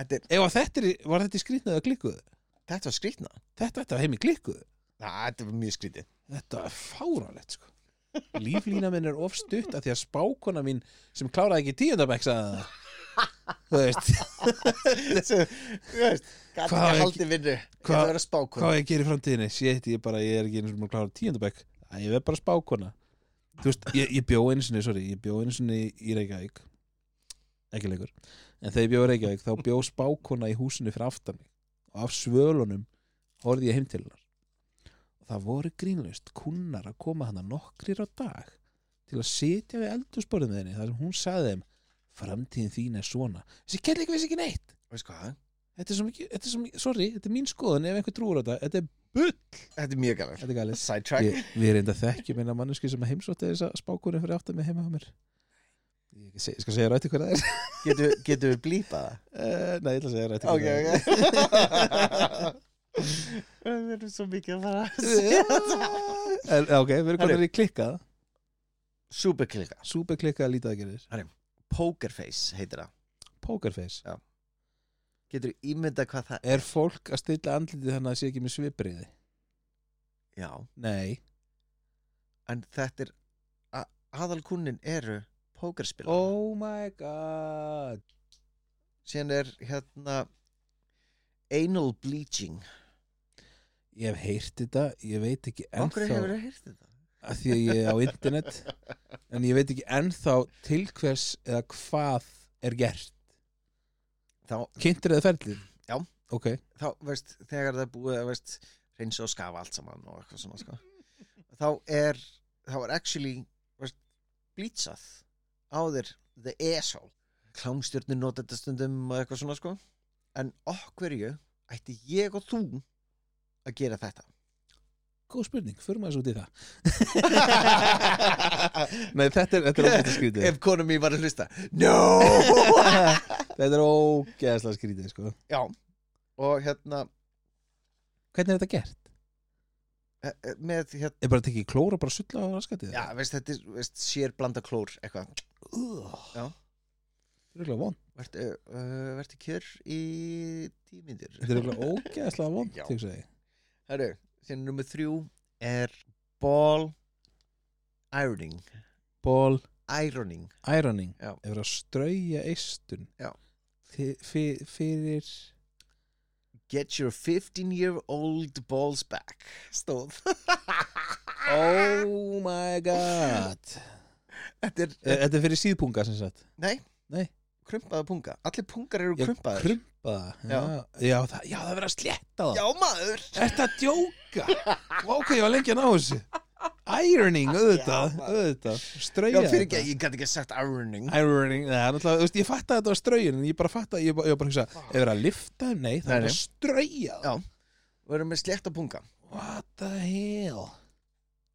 Þetta, er, Ef að þetta er, var þetta í skrýtnaðu að klikkuðu? þetta var skrýtna Þetta ætti að heim í klikkuðu Næ, þetta var mjög skrýtið Þetta er fáralegt sko Líflína minn er of stutt af því að spákona mín sem kláraði ekki tíundabæk sagði það Þú veist, Þessu, þú veist Gat Hvað ekki er- haldið vinnu Þetta hvað- var að spákona hvað á ég gerir í framtíðinni? Sétt, ég bara, ég er ekki eins og maður klára tíundabæk Æ, ég verð bara spákona Þú veist, ég, ég bjó einu sinni, sorry, ég bjó einu sinni í Reykjavík Ekki lengur En þegar ég bjó í Reykjavík, þá bjó spákona í húsinu fyrir aftan mig Og af svölunum horfði ég heim til hennar Og það voru grínlaust kunnar að koma hana nokkrir á dag Til að sitja við eldursporðum með henni Þar sem hún sagði þeim Framtíðin þín er svona Þessi kelli ekki vissi ekki neitt Veist hvað? þetta er svo mikið, þetta er svo mikið, sorry, þetta er mín skoðun ef einhver trúur á þetta, þetta er bull Þetta er mjög gæmur þetta er galið Sidetrack ég, við reynda þekkjum eina manneski sem heimsótti þess að spákurinn fyrir aftan með heima á mér ég se- skal segja rætti hver það er Getum getu við blípað það? uh, nei, ég ætla að segja rætti Ok, hver ok Við erum svo mikið að fara að segja það þetta er en, ok, við erum konar Herru. í klikkað Superklika súperklikkað lítið aðgerðir Pokerface heitir það pokerface, Getur ímynda hvað það er fólk að stilla andlitið þannig að það sé ekki með svipriði Já, nei, en þetta er a- aðalkunnin eru pókerspil oh my god Síðan er hérna anal bleaching ég hef heyrt þetta, ég veit ekki Okkur ennþá hefur það heyrt þetta? að því að ég er á internet en ég veit ekki ennþá til hvers eða hvað er gert Þá, kynntir eða ferlið Já. ok, þá, veist, þegar það er búið að veist, reynsa og skafa allt saman og eitthvað svona sko. þá er þá er actually veist, bleachað á þér the asshole klámstjörnir nota þetta stundum og eitthvað svona sko. en okkurju ætti ég og þú að gera þetta góð spurning, förum aðeins út í það nei, þetta er, þetta er ógeðslega skrítið ef konum mín var að hlusta no þetta er ógeðslega skrítið sko. já og hérna hvernig er þetta gert? eh, eh, með hérna er bara að tekið klóra og bara sulla á raskatið? já veist þetta er, veist, sér blanda klór eitthvað þetta Já. er eiginlega vond Vert, uh, vertu kjör í tímyndir þetta er eiginlega ógeðslega vond Já. til þess að ég Herru, síðan nummer þrjú er ball ironing ból ironing ironing Já. er verið að strauja eistun Já. Fi- fi- fyrir Get your 15 year old balls back Stóð Oh my god Þetta er, Eh, Þetta er fyrir síðpunga sem sagt nei, Nei. Krumpaða punga, allir pungar eru Já, krumpaðir Krumpaða já. Já, það, já, það er verið að slétta það Já maður Þetta að djóka Vá, Ok, ég var lengi að ná þessu Ironing, auðvitað, Já, maður. auðvitað Já, Strauja fyrir ekki, ég gæti ekki sagt ironing Ironing, neða, náttúrulega, þú veist, ég fatt að þetta var straujun en ég bara fatt að, ég bara, ég bara hugsa ef það er að lifta, þeim? nei, það Nei, er nei. að strauja Já. Við erum með slétta punga What the hell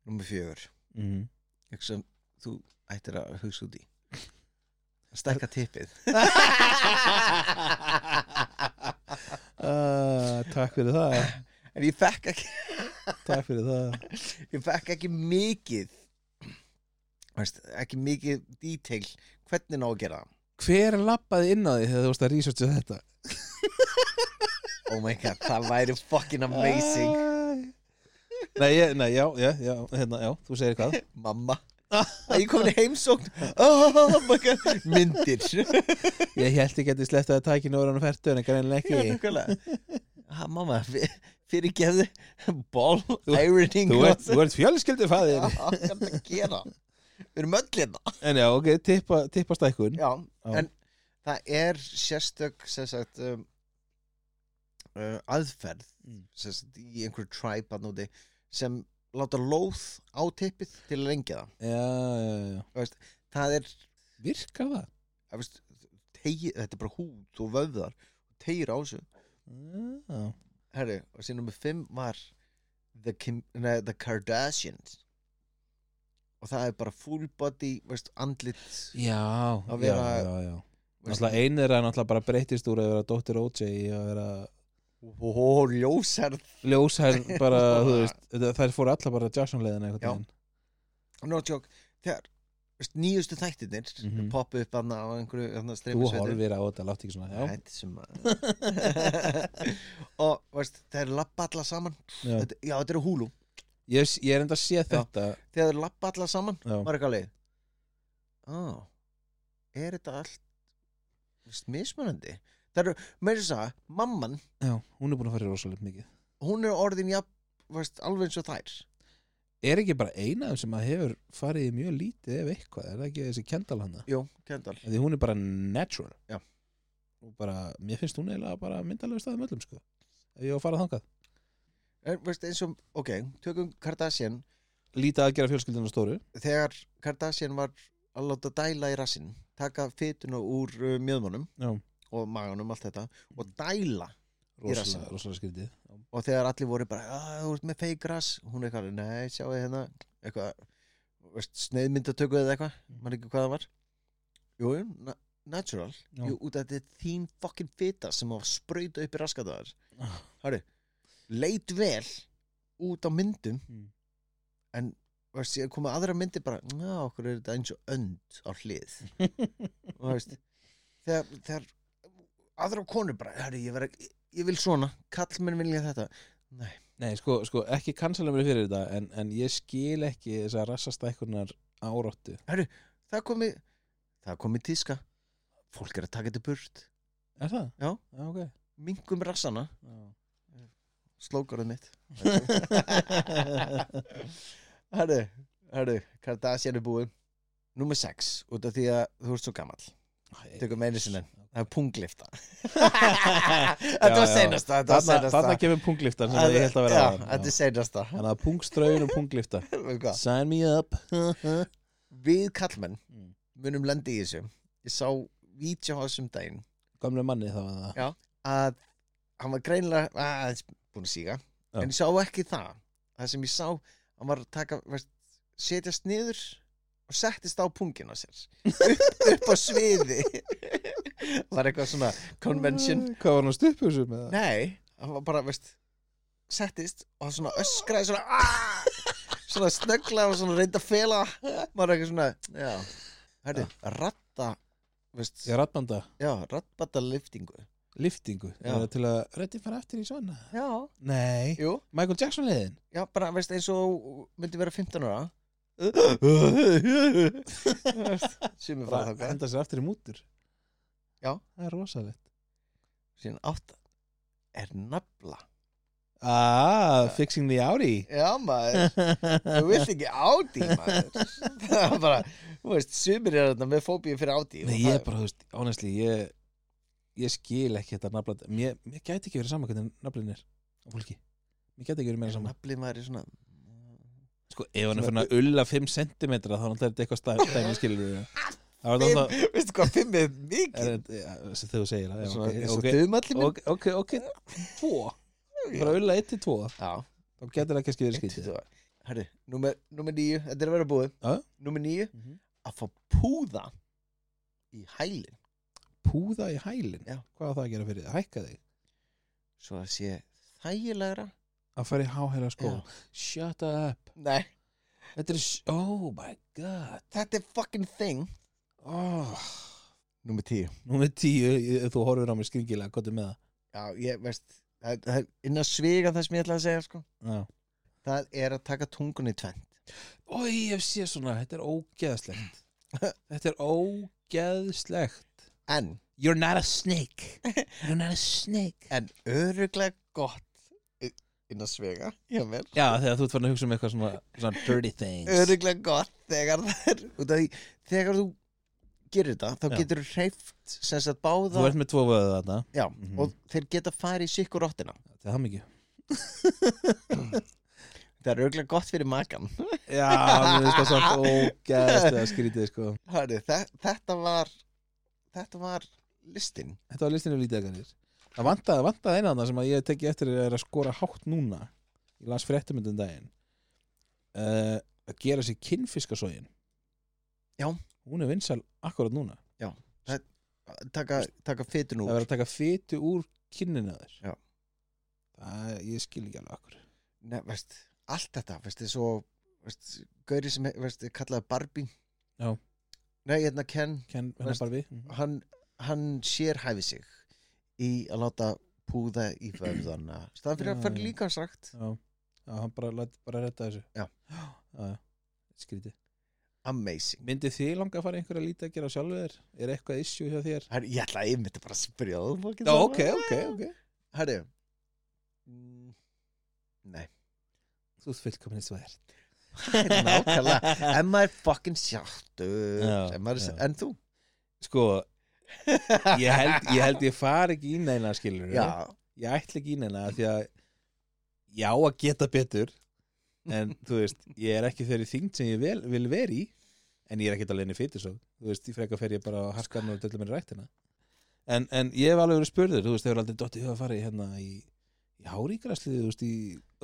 Númer fjögur mm. Mhm. Eitthvað sem þú ættir að hugsa út í Stækka tippið uh, Takk fyrir það En ég fekk ekki Takk fyrir það Ég fekk ekki mikið Veist, ekki mikið detail hvernig ná að gera það Hver lappaði inn á því þegar þú varst að researcha þetta? Oh my god, það væri fucking amazing Æ. Nei, ég, nei, já, já, já, hérna, já, þú segir hvað Mamma Æ, Ég komin í heimsókn oh my god, Myndir Ég held ekki að ég sleppta að tækinu voru hann fært en greinlega Já, ekki nákvæmlega. Ha, Mamma, fyrir gefðu Ball, ironing Þú ert, þú ert fjölskyldu Já, fæðir hvað er það að gera? Við erum öll hérna En já, ok, tippa, tippa stækkun Já, Já. en það er sérstök sem sagt, um, uh, aðferð Mm. sem sagt, í einhverju tribe þarna úti, sem láta lóð á tippið til að lengja það Já, já, já það er, Virkar það? að veist, tegi, þetta er bara húð og vöðar tegir á þessu Já, Herri, og síðan nummer 5 var the, Kim, nei, the Kardashians og það er bara full body veist, andlit já, Að já, vera- já, já. veist, Náttúrulega einu er að náttúrulega bara breytist úr að vera dóttir OJ í að vera ó, ljósar ljósær bara, þú veist, þetta- þær fóru allar bara Jackson leiðina Já. einhvern no joke þegar veist, nýjustu þættirnir mm Mhm. poppa upp hann á einhverju hann veginn Þú horfir á þetta, látt ekki svona Já, Hætt sem að og veist, þeir lappa alla saman já. þetta, já, þetta eru húlu Ég, ég er enda að sé þetta þegar þeir lappa alla saman já. var eitthvað leið á, er þetta allt veist, mismunandi það eru, meira þess að mamman Já, hún er búin að fara í rosalega mikið hún er orðin jafn, veist, alveg eins og þær Er ekki bara eina af þeim sem að hefur farið í mjög lítið ef eitthvað, er það ekki þessi kendal hana? jú, Kendall Því hún er bara natural Já. Og bara, mér finnst hún eiginlega bara myndalega staðum öllum sko Ef ég var að fara þangað er, veist, eins og, ok, tökum Kardashian Lítið að gera fjölskyldina stóru þegar Kardashian var að láta dæla í rassinn taka fytuna úr uh, mjöðmannum Já, og maganum, allt þetta og dæla, Í rassinum. rosalega, rosalega skrítið og þegar allir voru bara "Ah, þú ert með fake rass, hún er eitthvað nei, sjáu þið hérna, eitthvað veist, sneiðmyndatöku eða eitthvað Mm. mann ekki hvað það var jú, jú, na natural, Já. jú, út af þetta er þín fucking fita sem var sprauta upp í raskataðar Ah. hæru, leit vel út á myndum Mm. en veist, ég komið aðra myndi bara, ná, okkur er þetta eins og önd á hlið og veist, þegar, þegar aðra konur bara, hæru, ég, vera- ég, ég vil svona kallmenn vilja þetta nei, Nei, sko, sko ekki kansala mér fyrir þetta en, en ég skil ekki þessa rassastækkunar áráttu það komi það komi tíska fólk er að taka þetta burt Er það? Já. Já, ok mingum rassana, Já. slókarið mitt Herru, herru, Kardashian er búin Númer 6, út af því að þú ert svo gamall Æ, Tökum einu sinni, það er punglifta Já, Þetta var já. seinasta Þetta var Þarna, seinasta þarna kemur pungliftan sem ég held að vera Já, áðan. Þetta er seinasta Þannig að pungströðun og punglifta Veitu hvað? Sign me up Við kallmenn Mm. munum lendi í þessu Ég sá vítjá á þessum daginn Gamle manni þá var það að hann var greinilega aðeins búin að síga Já. en ég sá ekki það það sem ég sá, hann var að taka veist, setjast niður og settist á pungin á sér upp, upp á sviði var eitthvað svona convention Hvað var hann stupur sem með það? nei, hann var bara veist, settist og svona öskraði svona "Ah!" svona snöggla og svona reynda að fela var eitthvað svona já, hættu, ratta veist, Ég ratbanda já, rattbata liftingu liftingu Já. Er það til að Röddinn fara aftur í svona já, Nei jú Michael Jackson leiðin Já, bara, veist, eins og myndi vera 15 ára Sumi fara Bara þangað Henda sér aftur í mútur Já. Það er rosalegt Síðan átt er nafla Ah, fixing the Audi Já maður, þú vilt ekki áti maður Það er bara, þú veist, sumir er þarna með fóbíu fyrir áti Nei, ég er bara, þú veist, honestly ég, ég skil ekki þetta nafla mér, mér gæti ekki verið saman hvernig naflin er á fólki, mér gæti ekki verið meira saman Nafli maður er svona Sko, ef hann er fyrir að ulla 5 cm þá er þetta eitthvað stæ- dæmi skilur við. Það var Fimm, þetta veistu hvað fimm er mikið er þetta- ja, sem þú segir það, já, Svona, ok, eins og ok. dömalli minn ok, ok, ok, tvo bara ulla 1 til 2, Já, þá getur það kannski verið eitt skýtið Herri, númer, númer níu, þetta er að vera búið Já. Númer níu, Mhm. að fá púða í hælinn Púða í hælinn, Já. hvað á það að gera fyrir þig? Hækka þig, Svo að sé þægilegra að fara í háhæra skó Já. Shut up Nei, Þetta er, s- oh my god þetta er fucking thing oh. Númer tíu Númer 10, ég- þú horfir á mig skringilega, hvað er með Já, ég veist, það, það er inn að sviga það sem ég ætla að segja sko það? Já Það er að taka tungunni í tvennt Ói, ég sé svona, þetta er ógeðslegt Þetta er ógeðslegt En, You're not a snake You're not a snake en öruglega gott i- inn að sviga hjá mér Já, þegar þú ert farin að hugsa um eitthvað svona, svona dirty things öruglega gott þegar það er út af því þegar þú gerir þetta þá Já. getur þú hreift sem sagt Þú báða ert með tvo vöðu þarna já, Mhm. og þeir geta farið í sikkur rottina Það er hann mikið það er öruglega gott fyrir makan Já, mér finnst það samt ógeðslega skrítið sko Hörðu, þe þetta var þetta var listin Þetta var listinu lítið ekkanir Það vantaði, vantaði eina þarna sem að ég teki eftir er að skora hátt núna Ég las fréttamöndum daginn uh, Að gera sér kinnfiskasógin Já. Hún er vinsal akkurat núna taka, taka Það fytun úr verður að taka fytu úr kinnina þér Já. Það, ég skil ekki alveg akkur Nei, veist, allt þetta veist, þið, svo, veist, gauri sem veist, er kallaði Barbie Já. nei, hérna Ken Ken, hennar Veist- bara við Mhm. hann, hann sér hæfi sig í að láta púða í vöðana staðan fyrir Já, að fara já. líka sagt Já, já hann bara, læt, bara retta þessu Já. já, já. Skríti amazing Myndi þið langa að fara í einhverja lítið að gera sjálfur þér? Er eitthvað issue hjá þér? Her, ég ætla að ég myndi bara að spyrja þú fucking Já, sama. ok, ok, ok Herri, mm, nei Þú ert fullkominni svær nákvæmlega en maður er fucking sjáttur Já, en, maður, já. er- en þú Sko, ég held ég, held ég fari ekki í neina skilur já, Ég ætla ekki í neina af Því að ég á að geta betur En þú veist, ég er ekki þeirri þyngd sem ég vil, vil veri í En ég er ekki alveg inni fyrir svo Þú veist, í frekar fer ég bara að harka hann og döllu mér í rættina en, en ég hef alveg verið spurður Þú veist, hefur aldrei dottið í hug að fara í hérna í, í háríkraslið Þú veist, í,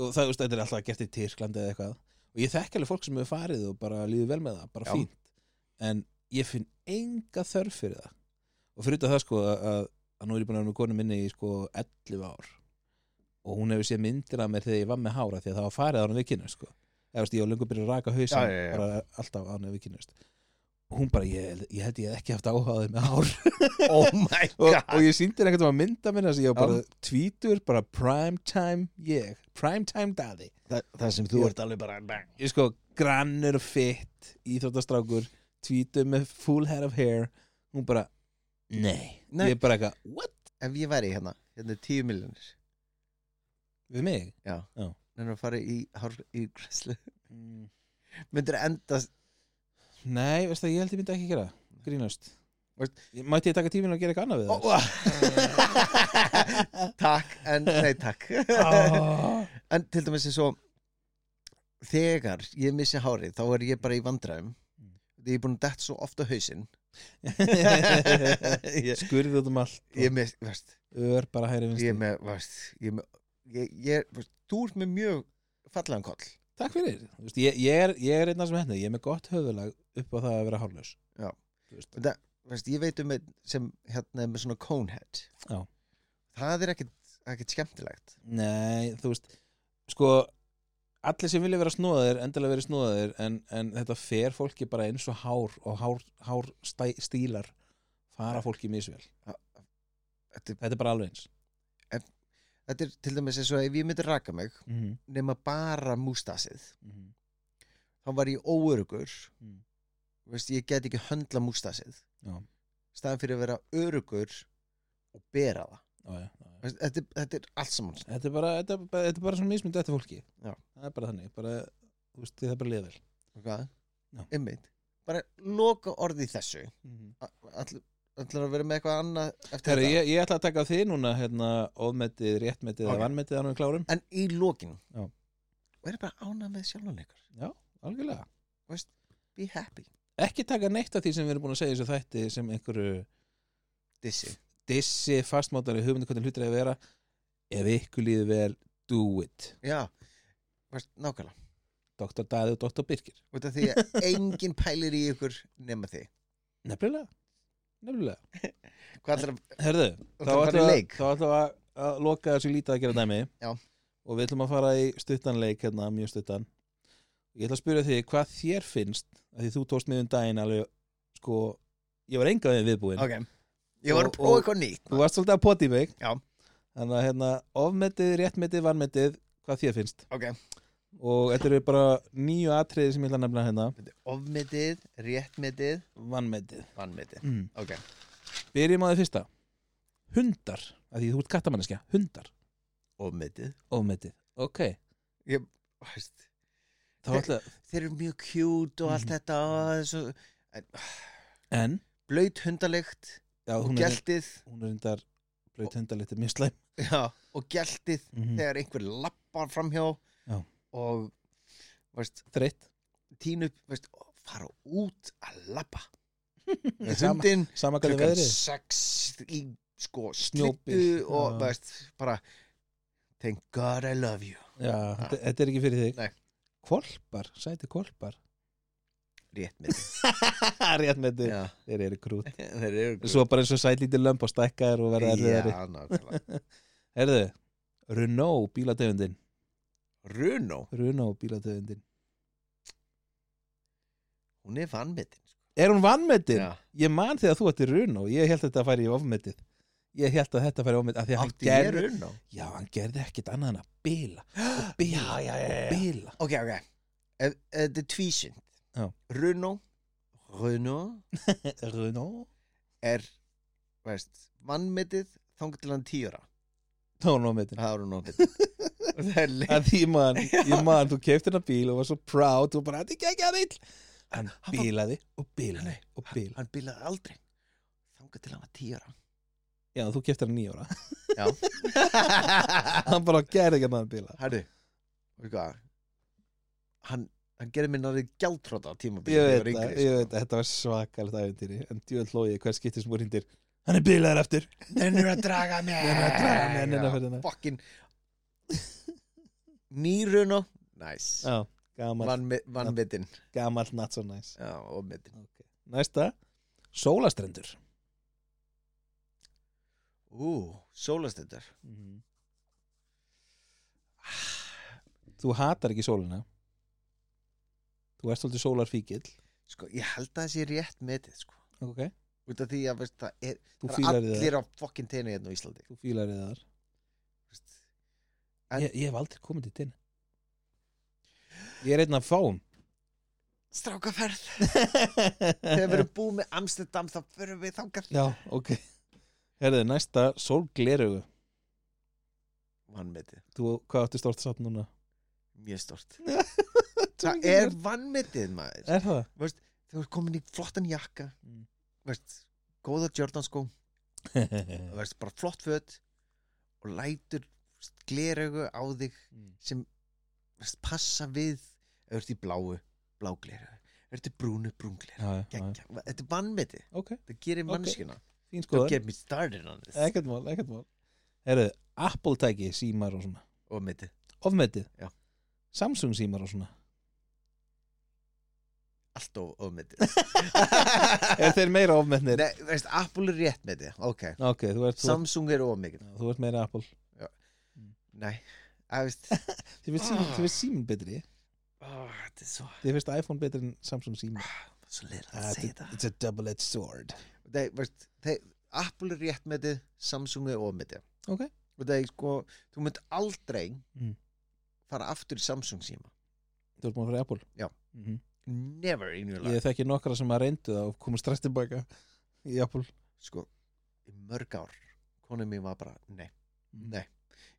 og það, þú veist, þetta er alltaf gert í Tyrklandi eða eitthvað Og ég þekki alveg fólk sem hefur farið og bara líður vel með það, bara Já. fínt En ég finn enga þörf fyrir það Og fyrir þetta það sko að, að, að nú er ég búin að vera með konu minni í sko 11 ár og hún hefur séð myndir af mér þegar ég var með hára því að það var farið á hann við kynum sko. eða veist, ég var lengur byrjuð að raka hausin Já, já, já. bara alltaf á hann við kynum hún bara, ég, ég held ég hef ekki haft áhugaði með hár oh my og, god og ég sýndir einhvern veginn að mynda minna þess að ég var bara tvítur, bara prime time ég, prime time daddy Þa, það sem þú ert alveg bara bang. ég sko, grannur og fitt íþróttastrákur, tvítur með full head of hair, hún bara nei, Nei. ég er bara eitthvað what, ef ég væri hérna, hérna er 10 miljonir við mig já, Já. en að fara í, hár- í græslu Mm. myndir enda nei, veist það, ég held ég myndi ekki gera það, grínast Veist- Ég- mætti ég taka tíminn og gera eitthvað annað við það Ó, ó. takk, en nei takk Ah. en til dæmis er svo þegar ég missi hárið þá er ég bara í vandræðum Mm. því ég er búin að detta svo ofta hausinn ég, skurðið út um allt ég er með, veist, ör bara hægri ég er vinstri með, veist, ég er með ég, ég, veist, þú ert með mjög fallan koll takk fyrir, Þú veist, ég, ég, er, ég er einna sem henni ég er með gott höfulag upp á það að vera hárlaus Já. Þú veist, það, veist, ég veit um einn sem hérna er með svona conehead Já. það er ekkit, ekkit skemmtilegt nei, þú veist sko, allir sem vilja vera snúðaðir endilega verið snúðaðir en, en þetta fer fólki bara eins og hár og hár, hár stæ, stílar fara fólki misvel þetta, þetta er bara alveg eins er- þetta er til dæmis eins og ef ég myndi raka mig mm -hmm. nema bara mústasið Mhm. þá var ég óörugur Mm. veist, ég get ekki höndla mústasið Já. staðan fyrir að vera örugur og bera það já, já, já. Veist, Þetta, er- þetta er allt saman þetta er bara, þetta er bara, þetta er bara svona mismynd eftir fólki Já. það er bara þannig, bara, þú veist, það er bara liðvel Hvað? Já. Einmitt Bara loka orði í þessu mm -hmm. Ætlar að vera með eitthvað annað eftir Herra, Mhm. þetta ég, ég ætla að taka þið núna hérna, ofmetið, réttmetið Ok. eða vannmetið þannig við klárum, En í lokin Já. Verður bara ánað með sjálfan ykkur algjörlega Be happy ekki taka neitt af því sem við erum búin að segja í þessu þætti sem einhverju Dissi dissi fastmótari hugmyndu hvernig hlutir að vera ef ykkur líður vel, do it Já Veist, Nákvæmlega Dr. Daði og Dr. Birkir Út af því að enginn pælir í ykkur nema þið nefnilega, nefnilega Hvað ætlar að Herðu, Og þá það er bara ætlum við- leik. þá ætlum við að- að loka þessu lítið að gera dæmi Já. og við ætlum að fara í stuttan leik hérna, mjög stuttan Ég ætla að spyrja þig hvað þér finnst að því þú tókst mig um daginn alveg sko, ég var enga við viðbúin Ok Ég var Og- að prófa og- eitthvað nýtt Þú varst svolítið að poti í mig Já. Þannig að hérna, ofmetið, réttmetið, vannmetið hvað þér finnst Ok og þetta eru bara nýju atriði sem ég ætla að nefna hérna Ofmetið, réttmetið, vannmetið vannmetið mm. Ok Byrjum á því fyrsta Hundar, að því þú ert kattamanneskja Hundar, Ofmetið ofmetið, ok Veist Þá Þe- ætla, þeir eru mjög cute og allt Mhm. þetta og það er svo, en blöyt hundalegt já, og hún, er, gæltið hún er reyndar blöyt hundalítið mjög slæm já, og gæltið Mhm. þegar einhver lappar framhjá Já. og veist, þreytt, tínu upp veist, og fara út að lappa með Sama- hundin sama hvað klukkan veðrið sex í sko Snjóbíl. slittu og Já. veist, bara thank god I love you já, þetta þetta er ekki fyrir þig Nei. kvolpar, sæti kvolpar rétt með rétt með þig, þetta þeir eru krút þeir eru svo bara eins og sælítið lömb og stækkaðir og verða erfiðari já, nákvæmlega herðu, Renault bílategundin Runo, Renault bílategundin hún er vannmetin er hún vannmetið? já, ég man þegar þú ætti Renault ég held að þetta færi í ofmetið ég held að þetta færi í ofmetið af því að hann átti ég gerði Runo já, hann gerði ekkit annað en að bila og bila Já, já, já, já. og bila Ok, ok Ef- ef Þetta er tvísynd Já. Renault Renault Eh, Renault er veist, vannmetið þangur til hann tíu ára þá er hún ofmetið Það er Renault-metið Og það er leik að því man, ég man, þú kefti hennar bíl og var svo proud og bara, þetta er geggjað bíl hann Hann var- bílaði og bílaði og bílaði Hann bílaði aldrei Þangur til hann var tíu ára já, þú kefti hann nýjóra Já hann bara gerði ekki að maður bíla Herri Veistu hvað Hann, hann gerði minn aðrið gjaldtróta á tímabili ég þegar veit var það, yngri, sko. ég veit það, þetta var svakalegt æventýri en djúvel hlóið, hver skiptir sem voru hindir hann er bílaðir aftur sko. Nennir að draga mig Nennir að draga mig, nennir að Já, ferðina. Fucking Ný Renault Nice já, gamall, Vannmetinn gamall not so nice Já, ofmetinn næsta, sólastrendur Ú, sólastendar þú hatar ekki sólina þú ert svolítið sólarfíkil Sko, ég held að það sé rétt metið, sko ok, Út af því að, veist, það er, þú það er fílar þið allir á fokkin teinu hérna á Íslandi þú fílar þið þar veist. En- ég, ég hef aldrei komið til tinna ég er einn af fáum Strákaferð Þegar við já, erum búið með Amsterdam, þá förum við þangar ok herðið, næsta, sólglerugu Vannmetið, þú, hvað áttu stórt satt núna? mjög stort Það er vannmetið, maður er það? Þú ert komin í flottan jakka Mm. Veist, góða Jordan sko Veist, bara flott föt Og lætur gleraugu á þig Mm. sem veist, passa við ef ertu í bláu, blágleru ertu í brúnu, brúngleru já, já, já. þetta er vannmeti, ok, það gerir mannskina okay. fín don't skoðan get me started on this ekkert mál, ekkert mál herðið, Apple tæki, símar og svona og meti, ofmetið Já. Samsung símar og svona allt og, og meti er þeir meira ofmetnir? Eh. Nei, veist, Apple er rétt meti, ok ok, þú ert, þú, Samsung er ómikið, þú ert meira Apple nei að veist, þið finnst Ah. síminn- þér finnst síminn betri oh, þetta er svo þið finnst iPhone betri en Samsung símar svo leir að segja þetta it's a double-edged sword Nei, veist, þeir, Apple er rétt meti Samsung er ómikið Ok. og það er sko, þú mynd aldrei Mm. fara aftur í Samsung síma þú ert búin að fara í Apple Já. Mhm. never in your life ég þekki nokkra sem að reyndu það og komu stress tilbaka í Apple Mm. sko, í mörg ár konum mín var bara, nei, Nei,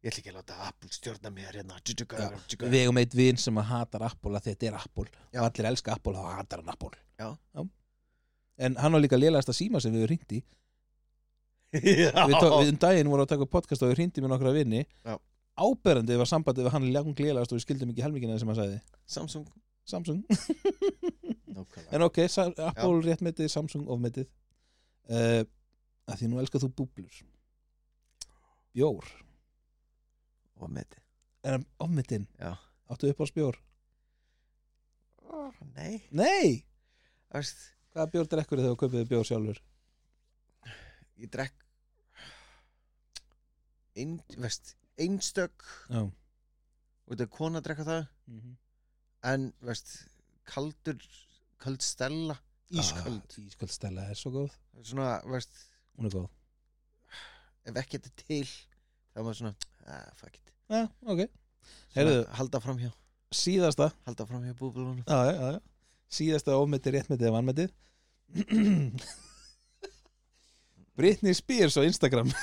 ég ætla ekki að láta Apple stjórna mér hérna Tjútjúka, Já, tjútjúka. Við eigum eitt vin sem að hatar Apple að þetta er Apple Já. og allir elska Apple þá hatar hann Apple Já. En hann var líka lélægast að síma sem við höfum hringt í Já. við, tók, við um daginn vorum að taka upp podcast og við hringt með nokkra vinni Já. Áberandi var sambandið við hann langt lélægast og við skildum ekki helmingina sem hann sagði Samsung Samsung Nákvæmlega. En ok, sa- Apple réttmetið, Samsung ofmetið uh, að Því nú elskar þú búblur Bjór Og með Er hann ofmetin? Já. Áttu upp á spjór? Nei, Nei! þú veist Hvaða bjór drekkur þegar þú kaupið bjór sjálfur? ég drekk ein, veist, einstök Já og þetta er kona að drekka það en veist, kaldur kald stella, ísköld ah, Ísköld stella er svo góð svona, veist, Hún er góð ef ekki þetta er til þá er maður svona, ah, fuck it Já, ok svona, Heyrðu. halda framhjá, Síðasta halda framhjá búbulunum Já, já, já Síðasta ofmetið, réttmetið eða vannmetið Britney Spears á Instagram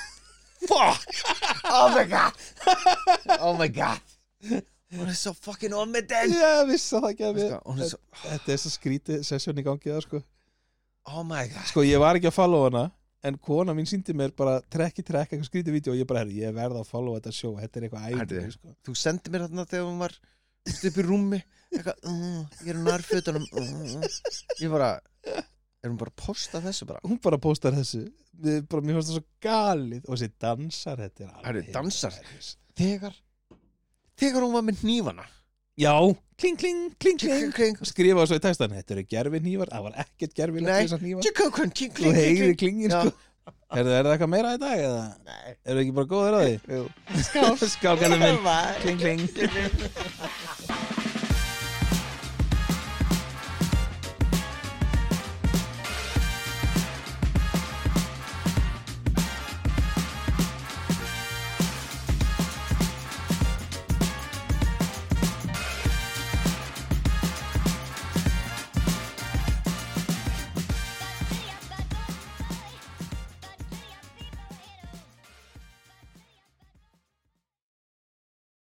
fuck, oh my god oh my god hún er svo fucking omedel Já, viss að það gefi hún er svo, Þetta er svo skrítið sessjón í gangi það sko oh my god Sko ég var ekki að follow hana En kona mín síndi mér bara trekk í trekk eitthvað skrítið vídeo og ég bara, herri, ég verð að follow þetta sjó Þetta er eitthvað æfnir Herðu. sko. þú sendi mér þarna þegar hún var stu upp í rúmi eitthvað, uh, ég er nærfötunum uh, ég bara er hún bara að posta þessu bara Hún bara postar þessu Við- bara, Mér fannst það svo galið Og þessi dansar, þetta er Herru, alveg dansar? hilarious. þegar þegar hún var með nýfana Já, kling, kling, kling, kling kling Og Skrifa svo í textan, þetta eru gerfi nývar Það var ekkert gerfi Nei. þessar nývar kling kling Þú heyri kling klingin Já. sko Herðu, er það eitthvað meira í dag eða? Nei. Eru ekki bara góðir að því? Skál, skál, kallið minn Bye. Kling, kling kling